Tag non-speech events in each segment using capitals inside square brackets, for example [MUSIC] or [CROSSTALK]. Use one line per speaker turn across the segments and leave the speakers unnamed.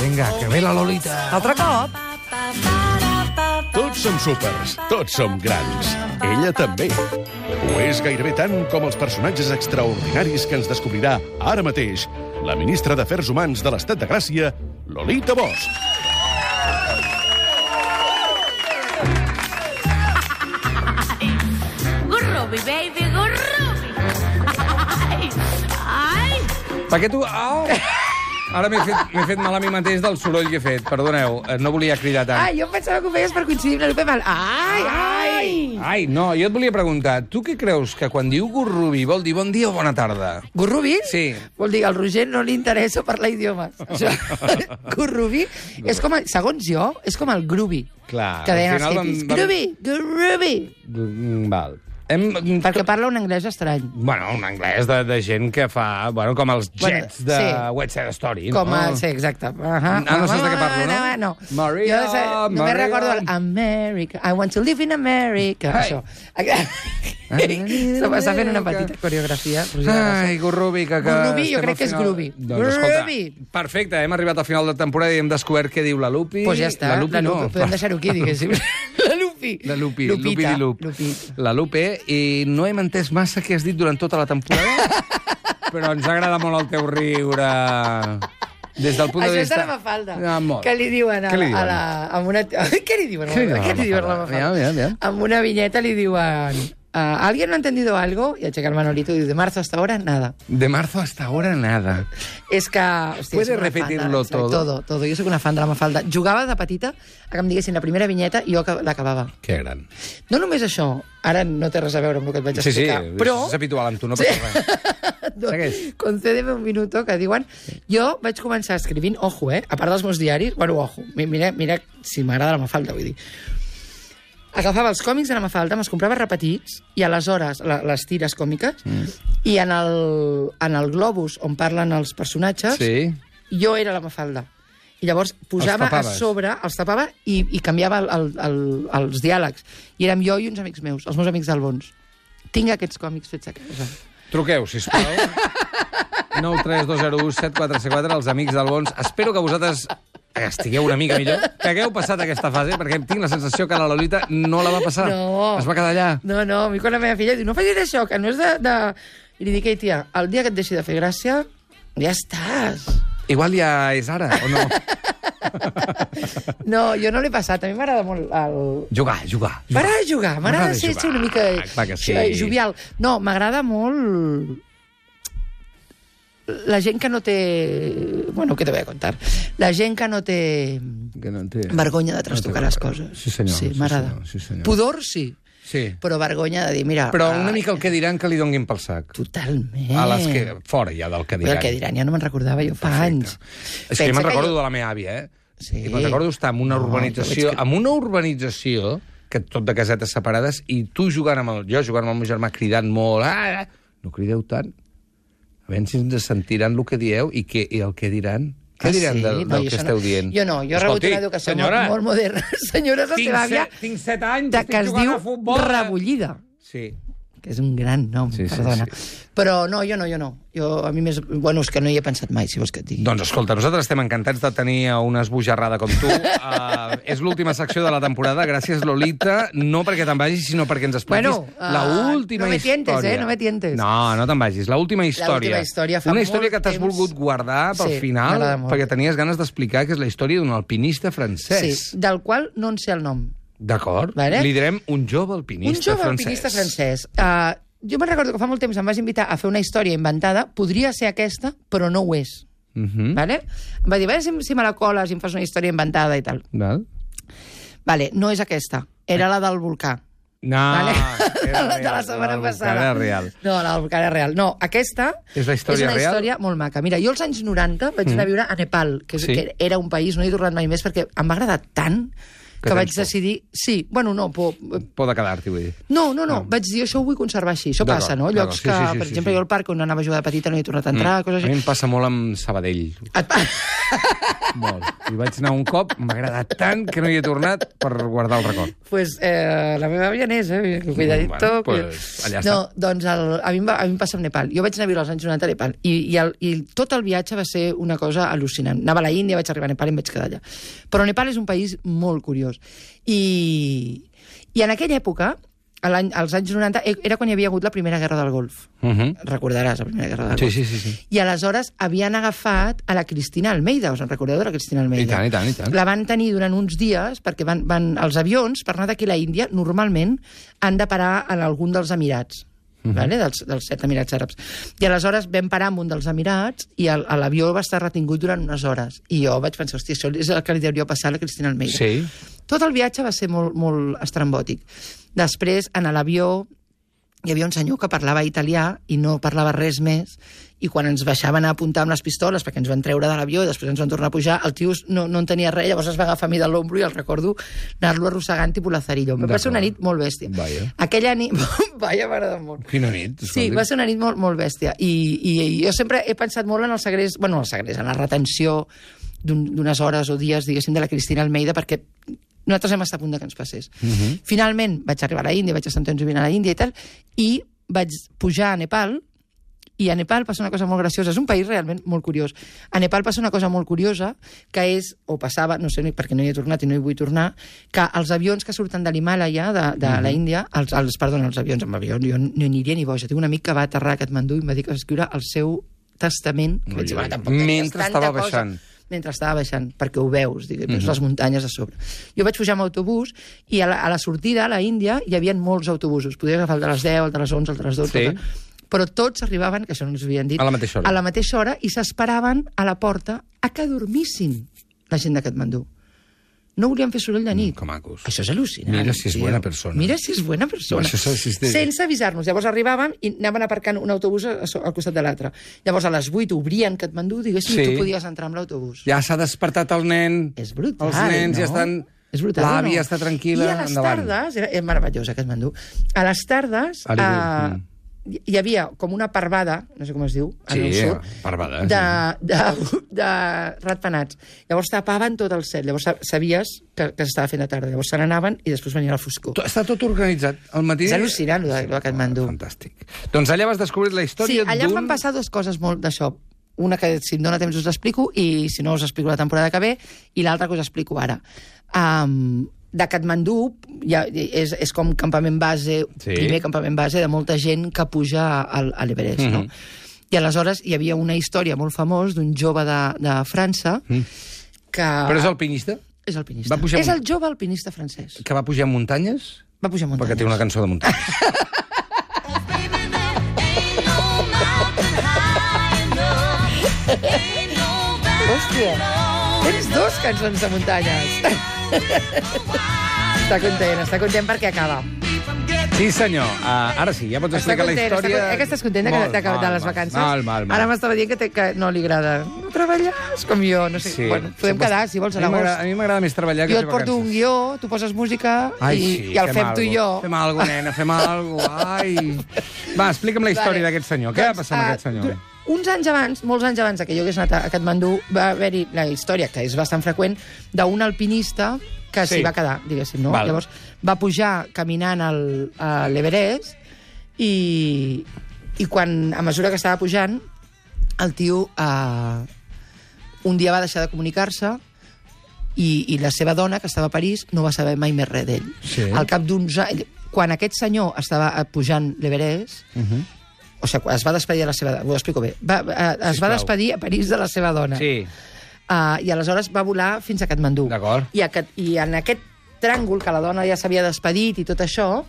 Vinga, que ve la Lolita.
Altre
[LAUGHS]
cop.
Tots som súpers, tots som grans. Ella també. Ho és gairebé tant com els personatges extraordinaris que ens descobrirà ara mateix la ministra d'Afers Humans de l'Estat de Gràcia, Lolita Bosch.
Gurrubi, baby, gurrubi. [LAUGHS] Ai, ai.
Per què tu... Au! Ara m'he fet, m'he fet mal a mi mateix del soroll que he fet. Perdoneu, eh, no volia cridar tant.
Ai, jo em pensava que ho feies per coincidir amb la Lupe Mal. Ai, ai!
Ai, no, jo et volia preguntar, tu què creus que quan diu gurrubi vol dir bon dia o bona tarda?
Gurrubi?
Sí.
Vol dir, al Roger no li interessa parlar idiomes. O sigui, [LAUGHS] gurrubi és com, el- segons jo, és com el grubi.
Clar,
Que deien
al
els
final
hippies.
vam- vam-
Grubi, gurrubi.
Mm, Val. Hem...
Perquè parla un anglès estrany.
Bueno, un anglès de, de gent que fa... Bueno, com els
Bueno,
jets de
sí.
West Side Story,
Com a...
no?
Sí, exacte. Uh
Ah,
-huh.
no saps de què parlo, no?
No.
Maria,
jo sé, només
Maria.
recordo el America. I want to live in America.
Ai.
Això. [LAUGHS] Està fent una petita coreografia. Roger Gràcia.
Ai, Gurrubi, que... que
Gurrubi, jo
estem
crec
al
que és
final.
Grubi.
Doncs, escolta,
Grubi.
perfecte, hem arribat al final de temporada i hem descobert què diu la Lupi.
Pues ja està,
La Lupi,
la Lupi,
no.
podem deixar-ho aquí, diguéssim. [LAUGHS] La Lupi.
La Lupi, Lupi
Lupita.
di Lup.
Lupi.
La Lupe, i no hem entès massa què has dit durant tota la
[LAUGHS]
temporada, però ens agrada molt el teu riure. Des del punt
Això
de
és de
vista...
la Mafalda.
Ah, molt.
que li diuen a,
Què li diuen?
a la... Amb una... [LAUGHS] Què li diuen?
Què li diuen a
Què
la
li diuen a la
Mafalda?
Mafalda?
Aviam, aviam, aviam.
Amb una vinyeta li diuen... Uh, ¿Alguien no ha entendido algo? I aixeca el Manolito i diu, de marzo hasta ahora, nada.
De marzo hasta ahora nada.
És que... Hòstia,
¿Puedes
soc una fan de la
repetirlo
Mafalda.
todo?
Todo, todo. Jo sóc una fan de la Mafalda. Jugava de petita a que em diguessin la primera vinyeta i jo que l'acabava.
Que gran.
No només això, ara no té res a veure amb el que et vaig
Sí, sí,
explicar, però...
és habitual amb tu, no passa res.
doncs,
Segueix.
concédeme un minuto, que diuen... Jo vaig començar escrivint, ojo, eh? A part dels meus diaris, bueno, ojo, mi- mira, mira si m'agrada la Mafalda, vull dir. Agafava els còmics de la Mafalda, me'ls comprava repetits, i aleshores, la, les tires còmiques, mm. i en el, en el globus on parlen els personatges,
Sí.
jo era la Mafalda. I llavors posava a
tapaves.
sobre, els tapava i, i canviava el, el, el, els diàlegs. I érem jo i uns amics meus, els meus amics del Bons. Tinc aquests còmics fets a casa.
Truqueu,
[LAUGHS]
sisplau. 932017474, els amics del Bons. Espero que vosaltres estigueu una mica millor, que hagueu passat aquesta fase, perquè tinc la sensació que la Lolita no la va passar.
No.
Es va quedar allà.
No, no, a mi quan la meva filla diu, no facis això, que no és de... de... I li dic, ei, tia, el dia que et deixi de fer gràcia, ja estàs.
Igual ja és ara, o no?
No, jo no l'he passat, a mi m'agrada molt el...
[LAUGHS] Jugar, jugar. jugar.
M'agrada jugar, m'agrada
M'agrada
ser,
jugar, Ah,
ser una mica
clar que sí.
eh, jovial. No, m'agrada molt la gent que no té... Bueno, què te voy a contar? La gent que no té
Que no en té.
vergonya de trastocar les coses.
Sí, senyor,
Sí,
sí,
m'agrada.
senyor, sí, senyor.
Pudor, sí,
Sí.
però vergonya de dir, mira...
Però una
ah,
mica el que diran que li donguin pel sac.
Totalment.
A les que... Fora ja del que
Però
diran.
el que diran, ja no me'n recordava jo fa anys.
És que jo me'n
Pensa
recordo de la meva àvia, eh?
Sí.
I me'n recordo estar en una
No, jo
urbanització...
veig que-
En una urbanització, que tot de casetes separades, i tu jugant amb el... Jo jugant amb el meu germà, cridant molt... Ah, ah, no crideu tant. A veure si ens sentiran el que dieu i, que, i el que diran. Què
Ah,
diran
sí?
de, del
No, jo
que
això
esteu
no.
dient?
Jo no, jo he rebut
Escolti,
una educació
senyora,
molt, molt moderna. [LAUGHS] Senyora, és la
Tinc
seva àvia...
set- tinc set anys,
de-
estic
Que es
jugant
diu
a futbol, eh?
Rebollida,
Sí.
que és un gran nom,
Sí, sí,
perdona. Però no, jo no, jo no. Jo, a mi més... Bueno, és que no hi he pensat mai, si vols que et digui.
Doncs escolta, nosaltres estem encantats de tenir a una esbojarrada com
[LAUGHS]
tu. Uh, és l'última secció de la temporada. Gràcies, Lolita. No perquè te'n vagis, sinó perquè ens expliquis
Bueno,
la
ah,
l'última
no me
història.
tientes, eh, no me tientes.
No, no te'n vagis. L'última història.
L'última història fa
una història
molt
que t'has
temps.
volgut guardar pel
Sí,
final
m'agrada molt.
perquè tenies ganes d'explicar que és la història d'un alpinista francès.
Sí, del qual no en sé el nom.
D'acord?
Vale.
Li direm un jove alpinista
Un jove
francès.
alpinista francès. Uh, jo me'n recordo que fa molt temps em vas invitar a fer una història inventada. Podria ser aquesta, però no ho és.
Mhm.
Vale? Em va dir, a veure si, si me la coles i em fas una història inventada i tal.
Val.
Vale, no és aquesta. Era la del volcà.
No,
Vale?
era
[LAUGHS] de la
real,
setmana
era
passada.
Era real.
No, la del volcà era real. No, aquesta
És la història
és una
real? Mm.
història molt maca. Mira, jo als anys 90 vaig anar a viure a Nepal, que, és,
Sí.
que era un país, no he tornat mai més, perquè em va agradar tant que,
tens
vaig
por.
decidir... Sí, bueno, no, por,
Por de quedar-t'hi, vull dir.
No, no, no, vaig dir això ho vull conservar així. Això
Ah. D'acord,
passa, no?
d'acord,
Llocs
sí,
que,
sí, sí,
per
sí,
exemple,
sí. Mm.
jo al parc on
Ah,
anava a jugar de petita no hi he tornat a entrar, coses
A mi
així.
em passa molt amb Sabadell.
Et... pa-
Molt. Hi vaig anar un cop, m'ha agradat tant que no hi he tornat per guardar el record.
Pues, eh, la meva àvia n'és, eh? Cuidadito.
Bueno, pues,
cuida-
allà
no, doncs el, a, mi em va, a mi em passa amb Nepal. Jo vaig anar a viure als anys 90 a Nepal i, i, el, i tot el viatge va ser una cosa al·lucinant. Anava a la Índia, vaig arribar a Nepal i em vaig quedar allà. Però Nepal és un país molt curiós. I, i en aquella època, a l'any- als anys 90, e- era quan hi havia hagut la Primera Guerra del Golf.
Uh -huh.
Recordaràs la Primera Guerra del
Sí,
Golf.
sí, sí, sí.
I aleshores havien agafat a la Cristina Almeida, us en recordeu de la Cristina Almeida?
I tant, i tant, i tant.
La van tenir durant uns dies, perquè van, van, els avions, per anar d'aquí a la Índia, normalment han de parar en algun dels Emirats, vale? dels, dels set Emirats Àrabs. I aleshores vam parar en un dels Emirats i el- a l'avió va estar retingut durant unes hores. I jo vaig pensar, hòstia, això és el que li deuria passar a la Cristina Almeida.
Sí.
Tot el viatge va ser molt, molt estrambòtic. Després, en l'avió, hi havia un senyor que parlava italià i no parlava res més, i quan ens baixaven a apuntar amb les pistoles perquè ens van treure de l'avió i després ens van tornar a pujar, el tio no, no entenia res, llavors es va agafar a mi de l'ombro i el recordo anar-lo arrossegant tipus Lazarillo. Em Va ser una
D'acord.
nit molt bèstia.
Vaja.
Aquella nit... [LAUGHS] Vaja, mare de mort.
Quina nit.
Sí, va ser una nit molt, molt bèstia. I, i, I jo sempre he pensat molt en el segrest, bueno, en el segrest, en la retenció d'un- d'unes hores o dies, diguéssim, de la Cristina Almeida, perquè nosaltres hem estat a punt de que ens passés. Finalment vaig arribar a la Índia, vaig a Sant Antoni Vivint a la Índia i tal, i vaig pujar a Nepal, i a Nepal passa una cosa molt graciosa. És un país realment molt curiós. A Nepal passa una cosa molt curiosa, que és, o passava, no sé ni perquè no hi he tornat i no hi vull tornar, que els avions que surten de l'Himàlaia, de, de mm
Mhm.
-hmm. la Índia, els, els, perdona, els avions amb avió, jo no hi aniria ni boja. Tinc un amic que va aterrar a Katmandú i em va dir que va escriure el seu testament. que vaig dir,
Ui, ui.
"Bueno, tampoc tenies
Mentre
tanta
estava
cosa"
baixant.
mentre estava baixant, perquè ho veus, diguem, veus
Mhm.
les muntanyes a sobre. Jo vaig pujar amb autobús i a la, a la sortida, a la Índia, hi havia molts autobusos. Podies agafar el de les 10, el de les 11, el de les 12,
Sí.
el de- però tots arribaven, que això no ens ho havien dit,
A la mateixa hora.
a la mateixa hora i s'esperaven a la porta a que dormissin la gent de Katmandú. No volien fer soroll de nit.
Que macos.
Això és al·lucinant.
Mira si és
tio.
buena persona.
Mira si és bona persona.
No, això s'ha- s'ha- s'ha-
Sense avisar-nos. Llavors arribàvem i anaven aparcant un autobús a- a so- al costat de l'altre. Llavors a les 8 obrien Katmandú, diguéssim, sí.
Sí.
i tu podies entrar amb l'autobús.
Ja s'ha despertat el nen.
És brutal,
Els nens
no?
ja estan...
És brutal,
L'àvia
no?
està tranquil·la.
I a les
endavant.
tardes, era, era meravellosa que es mandú, a les tardes
Ah, li diu, mm.
eh, hi- hi havia com una parvada, no sé com es diu, en
Sí,
el sud,
parvada,
de, de, de ratpenats. Llavors tapaven tot el set, llavors sa- sabies que, que s'estava fent de tarda, llavors se n'anaven i després venia la foscor.
To- Està tot organitzat. Al matí...
És al·lucinant, lo de- lo de Katmandú.
Fantàstic. Doncs allà vas descobrir la
Sí,
història
allà em
d'un...
van passar dues coses molt d'això. Una que, si em dóna temps, us l'explico, i si no, us explico la temporada que ve, i l'altra que us explico ara. Um, de Katmandú ja, és, és com campament base,
Sí.
sí. primer campament base de molta gent que puja al, a l'Everest, mm -hmm. no?
Mhm.
I aleshores hi havia una història molt famosa d'un jove de, de França mm. que...
Mhm. Però és alpinista?
És alpinista.
va pujar
és
amb-
el jove alpinista francès.
Que va pujar muntanyes?
Va pujar muntanyes.
Perquè té una cançó de muntanyes.
Baby, there ain't no mountain high enough. Ain't no
Hòstia, tens dos cançons de muntanyes. està content, està content perquè acaba.
Sí, senyor. Uh, ara sí, ja pots
Està
explicar
content,
la història...
està, con- eh, que estàs content de,
Molt,
de, de, de
mal,
les
mal,
vacances?
Mal, mal, mal.
Ara m'estava dient que, te, que no li agrada treballar, és com jo, no sé. Sí. Bueno, podem
Sempre-
quedar, si vols,
A
a
mi m'agrada- A
l'agost.
mi m'agrada més treballar que
Jo
fer
et porto un
vacances.
guió, tu poses música
Ai,
i,
sí,
i el
fem
fem tu i jo.
Fem alguna cosa, nena, fem alguna cosa. Ai. Va, explica'm la història
Vale.
d'aquest senyor. Què va passar amb
ah,
aquest senyor?
dur- Uns anys abans, molts anys abans de que jo hagués anat a- a Katmandú, va haver-hi la història, que és bastant freqüent, d'un alpinista que s'hi
Sí.
va quedar, diguéssim, no?
Val.
Llavors va pujar caminant al, a l'Everest i, i quan, a mesura que estava pujant, el tio eh, un dia va deixar de comunicar-se i, i la seva dona, que estava a París, no va saber mai més res d'ell.
Sí.
Al cap d'uns anys... Quan aquest senyor estava eh, pujant l'Everest, uh -huh. o sigui, es va despedir de la seva... Ho explico bé. Va, eh, es va
Sisplau.
despedir a París de la seva dona.
Sí.
Uh, I aleshores va volar fins a Katmandú.
D'acord.
I, a, Kat- I en aquest tràngol, que la dona ja s'havia despedit i tot això,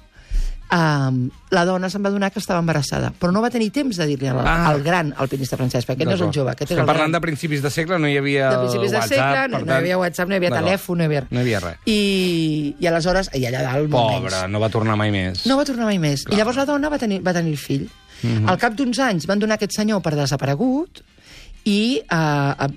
um, la dona se'n va donar que estava embarassada. Però no va tenir temps de dir-li al,
Ah.
al gran alpinista francès, perquè aquest no és el
D'acord.
jove, aquest és
Estem
el gran
parlant de principis de segle, no hi havia
de principis de
WhatsApp,
segle, no,
per
no hi havia
tant-
WhatsApp, no hi havia
D'acord.
telèfon, no hi havia...
No hi havia res.
I, i aleshores, i allà dalt, moments.
Pobre, no va tornar mai més.
No va tornar mai més. Clar. I llavors la dona va tenir, va tenir el fill.
Mhm.
Mm -hmm. Al cap d'uns anys van donar aquest senyor per desaparegut i eh,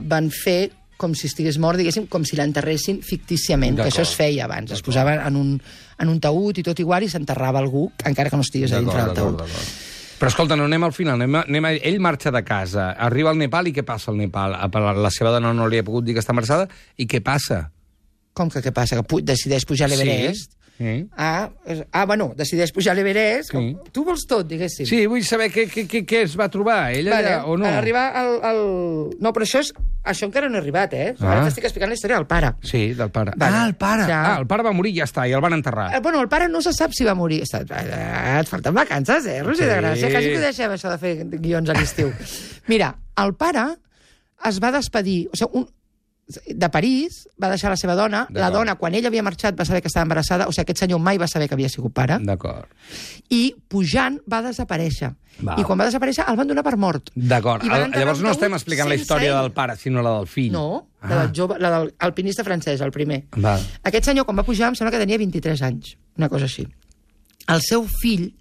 van fer com si estigués mort, diguéssim, com si l'enterressin fictíciament, que
D'acord.
això es feia abans. Es posava en un, en un taüt i tot igual i s'enterrava algú, encara que no estigués a dintre del
D'acord,
taüt.
d'acord, d'acord. Però escolta, no anem al final. Anem a, anem a, ell marxa de casa, arriba al Nepal i què passa al Nepal? A, per la, la seva dona no li ha pogut dir que està embarassada i què passa?
Com que què passa? Que pu- decideix pujar a l'Everest?
Sí.
Ah, és- ah, bueno, decideix pujar a l'Everest.
Sí.
com- Tu vols tot, diguéssim.
Sí, vull saber què, què, què, què es va trobar, ella
Vale,
ja, o no.
Arribar al, al... No, però això, és... això encara no he arribat, eh?
Ah.
Ara t'estic explicant la història del pare.
Sí, del pare.
Vale.
Ah, el pare.
Ja.
Ah, el pare va morir i ja està, i el van enterrar.
Eh, Bueno, el pare no se sap si va morir. Està- eh, Et falten vacances, eh, Roger
Sí.
de Gràcia? Quasi que ho deixem, això de fer guions
[LAUGHS]
a l'estiu. Mira, el pare es va despedir... O sigui, un, de París, va deixar la seva dona. La
D'acord.
dona, quan ella havia marxat, va saber que estava embarassada. O sigui, aquest senyor mai va saber que havia sigut pare.
D'acord.
I pujant va desaparèixer.
Val.
I quan va desaparèixer el van donar per mort.
D'acord.
I van
Ah,
enterrar
Llavors no
un
estem
taüt
explicant la
sense
història
ell.
del pare, sinó la del fill.
No, ah. de
Ah.
la jove, la del alpinista francès, el primer.
Val.
Aquest senyor, quan va pujar, em sembla que tenia 23 anys, una cosa així. El seu fill,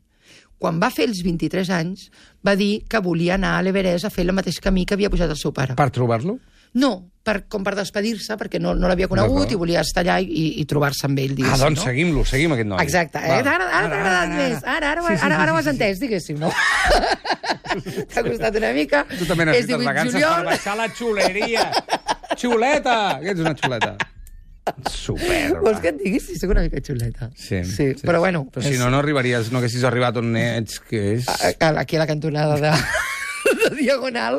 quan va fer els 23 anys, va dir que volia anar a l'Everest a fer el mateix camí que havia pujat el seu pare.
Per trobar-lo?
No, per, com per despedir-se, perquè no, no l'havia conegut
D'acord.
i volia estar allà i, i trobar-se amb ell,
Ah,
diguéssim.
doncs
no?
seguim-lo, seguim aquest noi.
Exacte. Eh?
Val.
Ara, ara, t'ha agradat més. Ara, ara, ho- ara, ara, ho has entès,
[LAUGHS]
diguéssim, no? T'ha costat una mica.
Tu també n'has
És
fet les
18
vacances
juliol.
per baixar la xuleria. Xuleta! Que ets una xuleta. Superba.
Vols que et digui? Sí, sóc una mica xuleta.
Sí,
sí, però bueno...
Però si no, no arribaries, no haguessis arribat on ets, que és...
a- a- Aquí a la cantonada
[LAUGHS]
de, de Diagonal,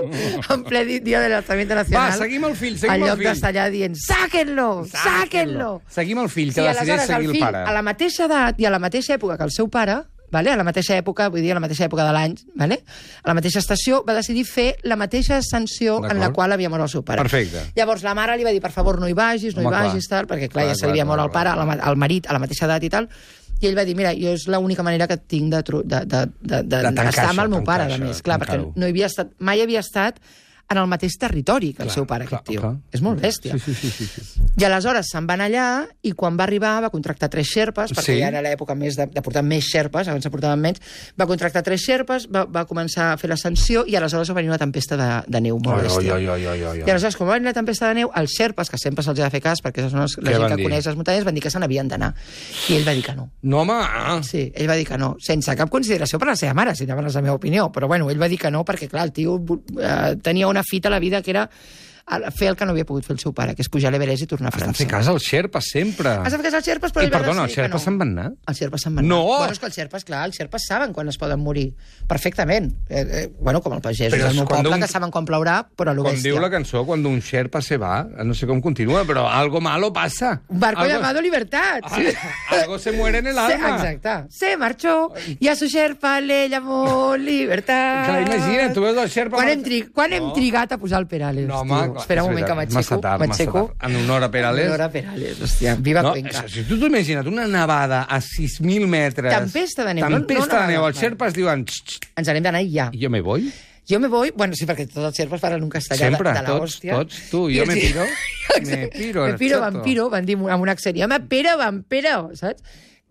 en ple di- dia de l'alçamiento nacional.
Va, seguim el fill, seguim
en
el
lloc
fill.
d'estar allà dient, sáquenlo, sáquenlo.
Seguim el fill, que
I
decideix
aleshores
seguir el,
fill,
pare.
a la mateixa edat i a la mateixa època que el seu pare, vale? a la mateixa època, vull dir, a la mateixa època de l'any, vale? a la mateixa estació, va decidir fer la mateixa ascensió en la
D'acord.
qual havia mort el seu pare.
Perfecte.
Llavors la mare li va dir, per favor, no hi vagis, no
Home,
hi
clar.
vagis, tal, perquè clar,
Clar,
ja se
clar,
li havia mort
clar,
el pare,
clar.
a la ma- el marit, a la mateixa edat i tal, i ell va dir, mira, jo és l'única manera que tinc de, tro- de, de, de,
De
de,
tancar
estar amb
això,
el meu pare,
tancar
a
això,
més, clar, perquè
tancar-ho.
no havia estat, mai havia estat en el mateix territori que el
Clar,
seu pare,
clar,
aquest tio.
clar.
És molt bèstia.
Sí, sí, sí, sí.
I aleshores se'n van allà i quan va arribar va contractar tres xerpes, perquè
Sí.
sí. ja era l'època més de, de portar més xerpes, abans en portaven menys, va contractar tres xerpes, va, va començar a fer l'ascensió i aleshores va venir una tempesta de, de neu molt
Oi, oi,
bèstia.
oi, oi, oi, oi,
I
oi.
aleshores, quan va venir la tempesta de neu, els xerpes, que sempre se'ls ha de fer cas, perquè són els,
Què
la gent
van
que
dir?
coneix les muntanyes, van dir que se n'havien d'anar. I ell va dir que no.
No, home, ah.
Sí, ell va dir que no, sense cap consideració per la seva mare, si demanes la meva opinió, però bueno, ell va dir que no perquè, clar, el tio eh, tenia una fita a la vida que era eh, fer el que no havia pogut fer el seu pare, que és pujar a l'Everest i tornar a
Has de
França.
fer cas al xerpa, sempre.
Has de fer cas als xerpes, però
I
ell va
perdona, els
decidir que
xerpes
no.
se'n van anar?
Els xerpes se'n van anar.
No!
Bueno, és que els xerpes, clar, els xerpes saben quan es poden morir. Perfectament. Eh, eh, bueno, com el pagès
Però
del
és
meu
quan
poble,
d'un-
que saben quan plourà, però a lo
Com
bèstia.
diu la cançó, quan un xerpa se va, no sé com continua, però algo malo passa.
Un barco
algo...
llamado Libertad.
Ah, algo se muere en el
Se-
alma.
exacte. Se marchó y a su xerpa le
[LAUGHS]
llamó Libertad.
Clar, imagina't, tu veus el xerpa...
Quan
amb-
hem, tri... quan hem trigat a posar el Perales,
No, home,
tio?
clar,
Espera
és
un moment que
veritat, és
m'aixeco.
massa tard, massa
m'aixeco.
tard. En honor a Perales.
En honor a Perales, hòstia. Viva
No,
Cuenca.
això, si tu t'ho imagina't, una nevada a 6.000 metres...
Tempesta de neu, no-
Tempesta
no
de neu.
nevada.
Els xerpes diuen... "Txt, txt,
Ens n'hem d'anar ja.
Jo me voy.
Jo me voy... Bueno, sí, perquè tots els serves parlen un castellà
Sempre,
de, de la
tots,
hòstia.
tots. Tu, jo
I els-
me
[LAUGHS]
piro,
Exacte.
me piro,
Me piro,
chato.
vampiro, van dir amb un accent. Jo me piro, vampiro, saps?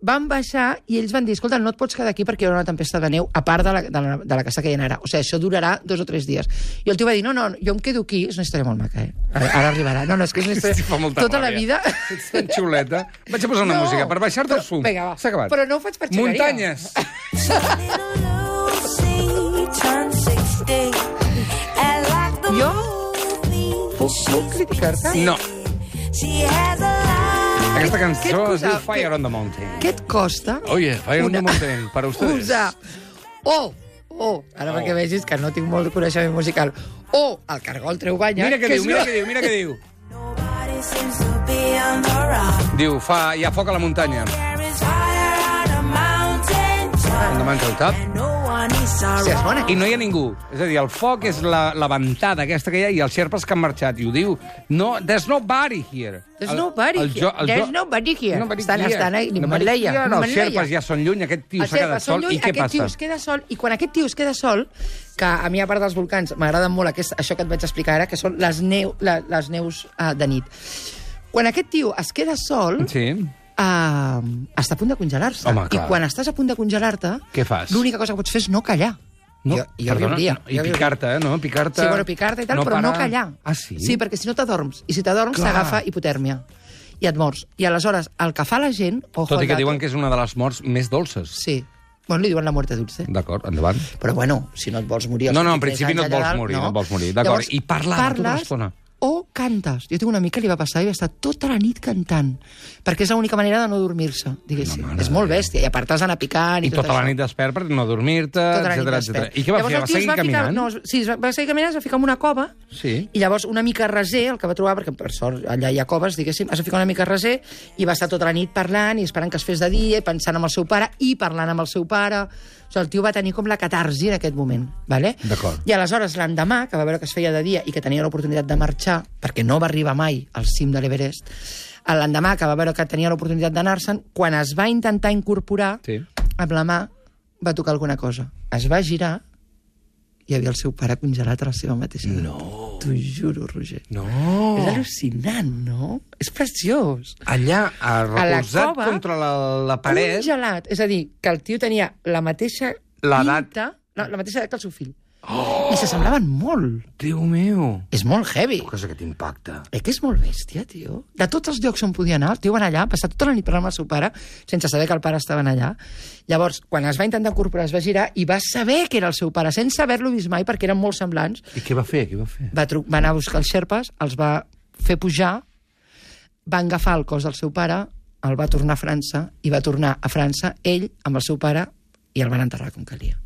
Van baixar i ells van dir, escolta, no et pots quedar aquí perquè hi haurà una tempesta de neu, a part de la, de la, de la que està caient ara. O sigui, això durarà dos o tres dies. I el tio va dir, no, no, jo em quedo aquí. És una història molt maca, eh? Ara, ara arribarà. No, no, és que és
[LAUGHS]
una història...
Hosti, fa molta
tota la
ràbia.
vida...
[LAUGHS] Ets tan xuleta. Vaig a posar una música per baixar-te el
però-
fum.
Vinga, va.
S'ha acabat.
Però no ho faig per xivaria.
Muntanyes.
[LAUGHS] Jo
Puc, puc criticar-te?
No.
Aquesta
Aquesta
Què et
cançó es
posa-
diu Fire on the Mountain.
Què et costa
Oye, Fire on
Una-
the Mountain, para ustedes.
usar o, o, ara
O.
perquè vegis que no tinc molt coneixement musical, o el cargol treu banya...
Mira què
que
diu,
és
mira
una-
què diu, mira què
[LAUGHS]
diu. Diu, fa, hi ha foc a la muntanya.
Ah,
No manca el cap.
Sí, és bona.
I no hi ha ningú. És a dir, el foc és la, la ventada aquesta que hi ha i els xerpes que han marxat. I ho diu, no, there's nobody here.
There's nobody here. There's nobody here. Estan- estan ahí, ni
Nobody here.
Himalaya, ni
Els
Himalaya.
xerpes ja són lluny, aquest tio s'ha
Els
quedat
Sherpas són
sol.
lluny,
I què
aquest tio
passa?
es queda sol, i quan aquest tio es queda sol, que a mi, a part dels volcans, m'agrada molt aquest, això que et vaig explicar ara, que són les, neu, la, les neus uh, de nit. Quan aquest tio es queda sol,
Sí.
uh, està a punt de congelar-se.
Home,
I
clar.
quan estàs a punt de congelar-te,
Què fas?
l'única cosa que pots fer és no callar.
No,
jo, jo
perdona,
viuria.
no, I
jo viuria.
picar-te, eh, no? Picar-te...
Sí, bueno, picar-te i tal, no però no
parar.
callar.
Ah, sí?
Sí, perquè si no t'adorms. I si t'adorms
Clar.
t'agafa hipotèrmia. I et mors. I aleshores, el que fa la gent... Ojo,
Tot i
al
que
dato.
diuen que és una de les morts més dolces.
Sí. Bueno, li diuen la muerte dulce.
D'acord, endavant.
Però bueno, si no et vols morir... als
No, no, en
23
principi no et
anys
vols
allà dalt,
morir, no et vols morir, d'acord.
Llavors,
I parlar tota
parles
l'estona.
o cantes. Jo tinc una amiga que li va passar i va estar tota la nit cantant, perquè és l'única manera de no dormir-se, diguéssim.
No,
No,
mare
és molt bèstia, i a part t'has d'anar picant...
I
I, tot
tota la
això.
nit despert per no dormir-te,
Tota la nit
etc
despert.
etc. I què va
Llavors,
fer?
el
Va
tio es
seguir
va ficar-
caminant?
no, es- sí, es va, va seguir caminant, es va ficar en una cova,
Sí.
i llavors una mica reser, el que va trobar, perquè per sort allà hi ha coves, diguéssim, es va ficar una mica reser i va estar tota la nit parlant i esperant que es fes de dia i pensant amb el seu pare i parlant amb el seu pare. O sigui, el tio va tenir com la catarsi en aquest moment. ¿vale?
D'acord.
I aleshores l'endemà, que va veure que es feia de dia i que tenia l'oportunitat de marxar, perquè no va arribar mai al cim de l'Everest, l'endemà que va veure que tenia l'oportunitat d'anar-se'n, quan es va intentar incorporar,
Sí.
amb la mà va tocar alguna cosa. Es va girar i hi havia el seu pare congelat a la seva mateixa edat. No. T'ho juro, Roger.
No.
És al·lucinant, no? És preciós.
Allà, eh, recolzat
cova,
contra la, la paret...
Congelat. És a dir, que el tio tenia la mateixa
L'edat.
pinta, la, la mateixa edat que el seu fill. Oh. I se semblaven molt.
Déu meu!
És molt heavy.
Què és aquest impacte?
Eh que és molt bèstia, tio. De tots els llocs on podia anar, el tio va anar allà, passar tota la nit parlant amb el seu pare, sense saber que el pare estava allà. Llavors, quan es va intentar incorporar, es va girar i va saber que era el seu pare, sense haver-lo vist mai, perquè eren molt semblants.
I què va fer? Què va fer?
Va, tru- va anar a buscar els xerpes, els va fer pujar, va agafar el cos del seu pare, el va tornar a França, i va tornar a França ell amb el seu pare i el van enterrar com calia.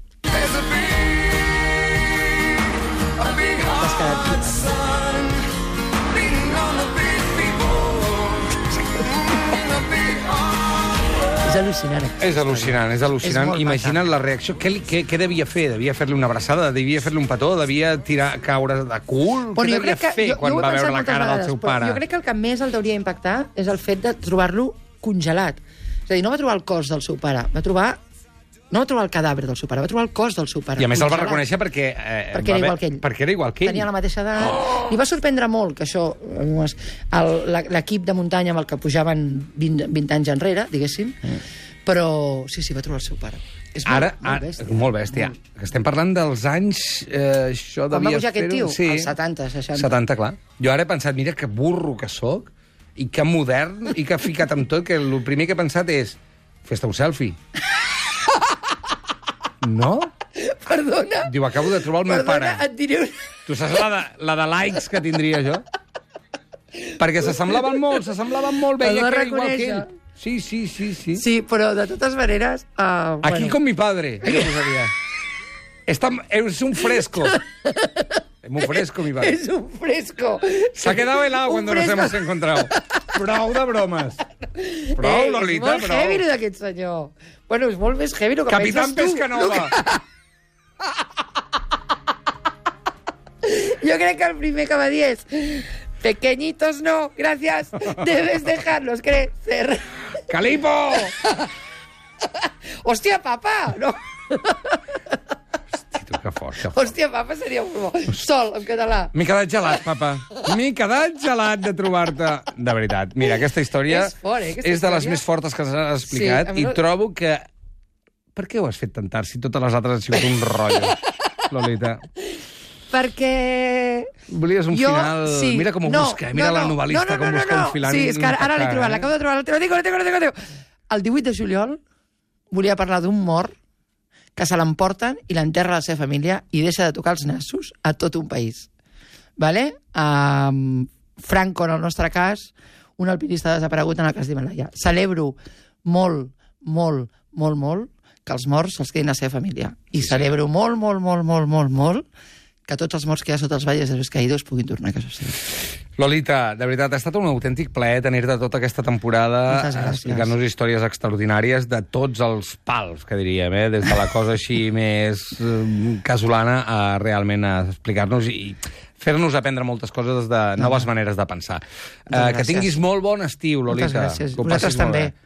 T'has quedat És al·lucinant.
És al·lucinant, és
És
al·lucinant.
molt
Imagina't la reacció. Què, li- què, què devia fer? Devia fer-li una abraçada? Devia fer-li un petó? Devia tirar caure de cul?
Bueno,
què
jo
devia
crec que,
fer
jo,
quan
jo ho he
va
pensat
veure la
moltes
cara
vegades,
del seu
però
pare?
Jo crec que el que més el deuria impactar és el fet de trobar-lo congelat. És a dir, no va trobar el cos del seu pare, va trobar... No va trobar el cadàver del seu pare, va trobar el cos del seu pare.
I a més el va
congelat.
reconèixer perquè... Eh,
Perquè
va
era
haver-
igual que ell.
Perquè era igual que ell.
Tenia la mateixa edat. Oh! Li va sorprendre molt que això... eh, el- la- L'equip de muntanya amb el que pujaven 20, 20 anys enrere, diguéssim, però sí, sí, va trobar el seu pare. És molt,
Mm. Ara,
molt
ara,
bèstia. Mm.
molt bèstia. Que Estem parlant dels anys... Eh, això
Quan va
devia
pujar aquest
fer-ho-
tio? Als 70, 60.
70, clar. Jo ara he pensat, mira que burro que sóc, i que modern, i que he ficat amb tot, que el primer que he pensat és fes-te un selfie.
[LAUGHS]
No?
Perdona,
Diu, acabo de trobar el meu
perdona,
pare.
et diré una...
Tu saps la de, la de likes que tindria jo? Perquè s'assemblaven molt, s'assemblaven molt,
El
veia que
va
era igual que ell.
reconèixer.
Sí, sí, sí, sí.
Sí, però de totes maneres... Uh,
Aquí con mi
[LAUGHS]
padre. Yo no sabía. Está, es un fresco. Es muy fresco, mi padre.
És un fresco.
Se ha quedado helado
Un
cuando
fresco.
nos hemos encontrado. Prou de bromas. Prou,
Ei,
Lolita,
És Eh, molt
prou.
heavy, lo d'aquest senyor. Bueno, és molt més heavy el que
Capitán
penses tu. [LAUGHS]
Pescanova.
Jo crec que el primer que va dir és... Pequeñitos no,
[LAUGHS]
gracias. Debes dejarlos crecer.
Calipo!
Hòstia, papa! No.
Hosti, tu, que fort, que fort.
Hòstia, papa seria un bo. Sol, en català.
M'he quedat gelat, papa. M'he quedat gelat de trobar-te. De veritat. Mira, aquesta història
És fort, eh,
és
aquesta
de les
història.
més fortes que s'han explicat
Sí, a
sí,
mi-
i trobo que... Per què ho has fet tan tard si totes les altres han sigut un
[LAUGHS]
rotllo, Lolita?
Perquè...
Volies un final... Mira com ho busca, eh? mira la novel·lista
no, no,
com
no,
busca
no,
un filant.
Sí, és que ara, ara l'he
impecable,
trobat,
eh?
l'acabo de trobar. Te lo digo, te lo digo, te lo digo. El 18 de juliol volia parlar d'un mort que se l'emporten i l'enterra a la seva família i deixa de tocar els nassos a tot un país. Vale? Um, Franco, en el nostre cas, un alpinista desaparegut en el cas d'Himalaya. Celebro molt, molt, molt, molt que els morts se'ls quedin a la seva família. I celebro molt, molt, molt, molt, molt, molt que tots els morts que hi ha sota els valles de los caídos puguin tornar a casa seva.
Lolita, de veritat, ha estat un autèntic plaer tenir-te tota aquesta temporada eh,
Moltes gràcies.
explicant-nos històries extraordinàries de tots els pals, que diríem, eh? des de la cosa
[LAUGHS]
així més eh, casolana a realment a explicar-nos i fer-nos aprendre moltes coses de noves maneres de pensar. Eh, que
Doncs. gràcies.
tinguis molt bon estiu, Lolita.
Moltes gràcies.
Que ho passis
Vosaltres
molt
també.
bé.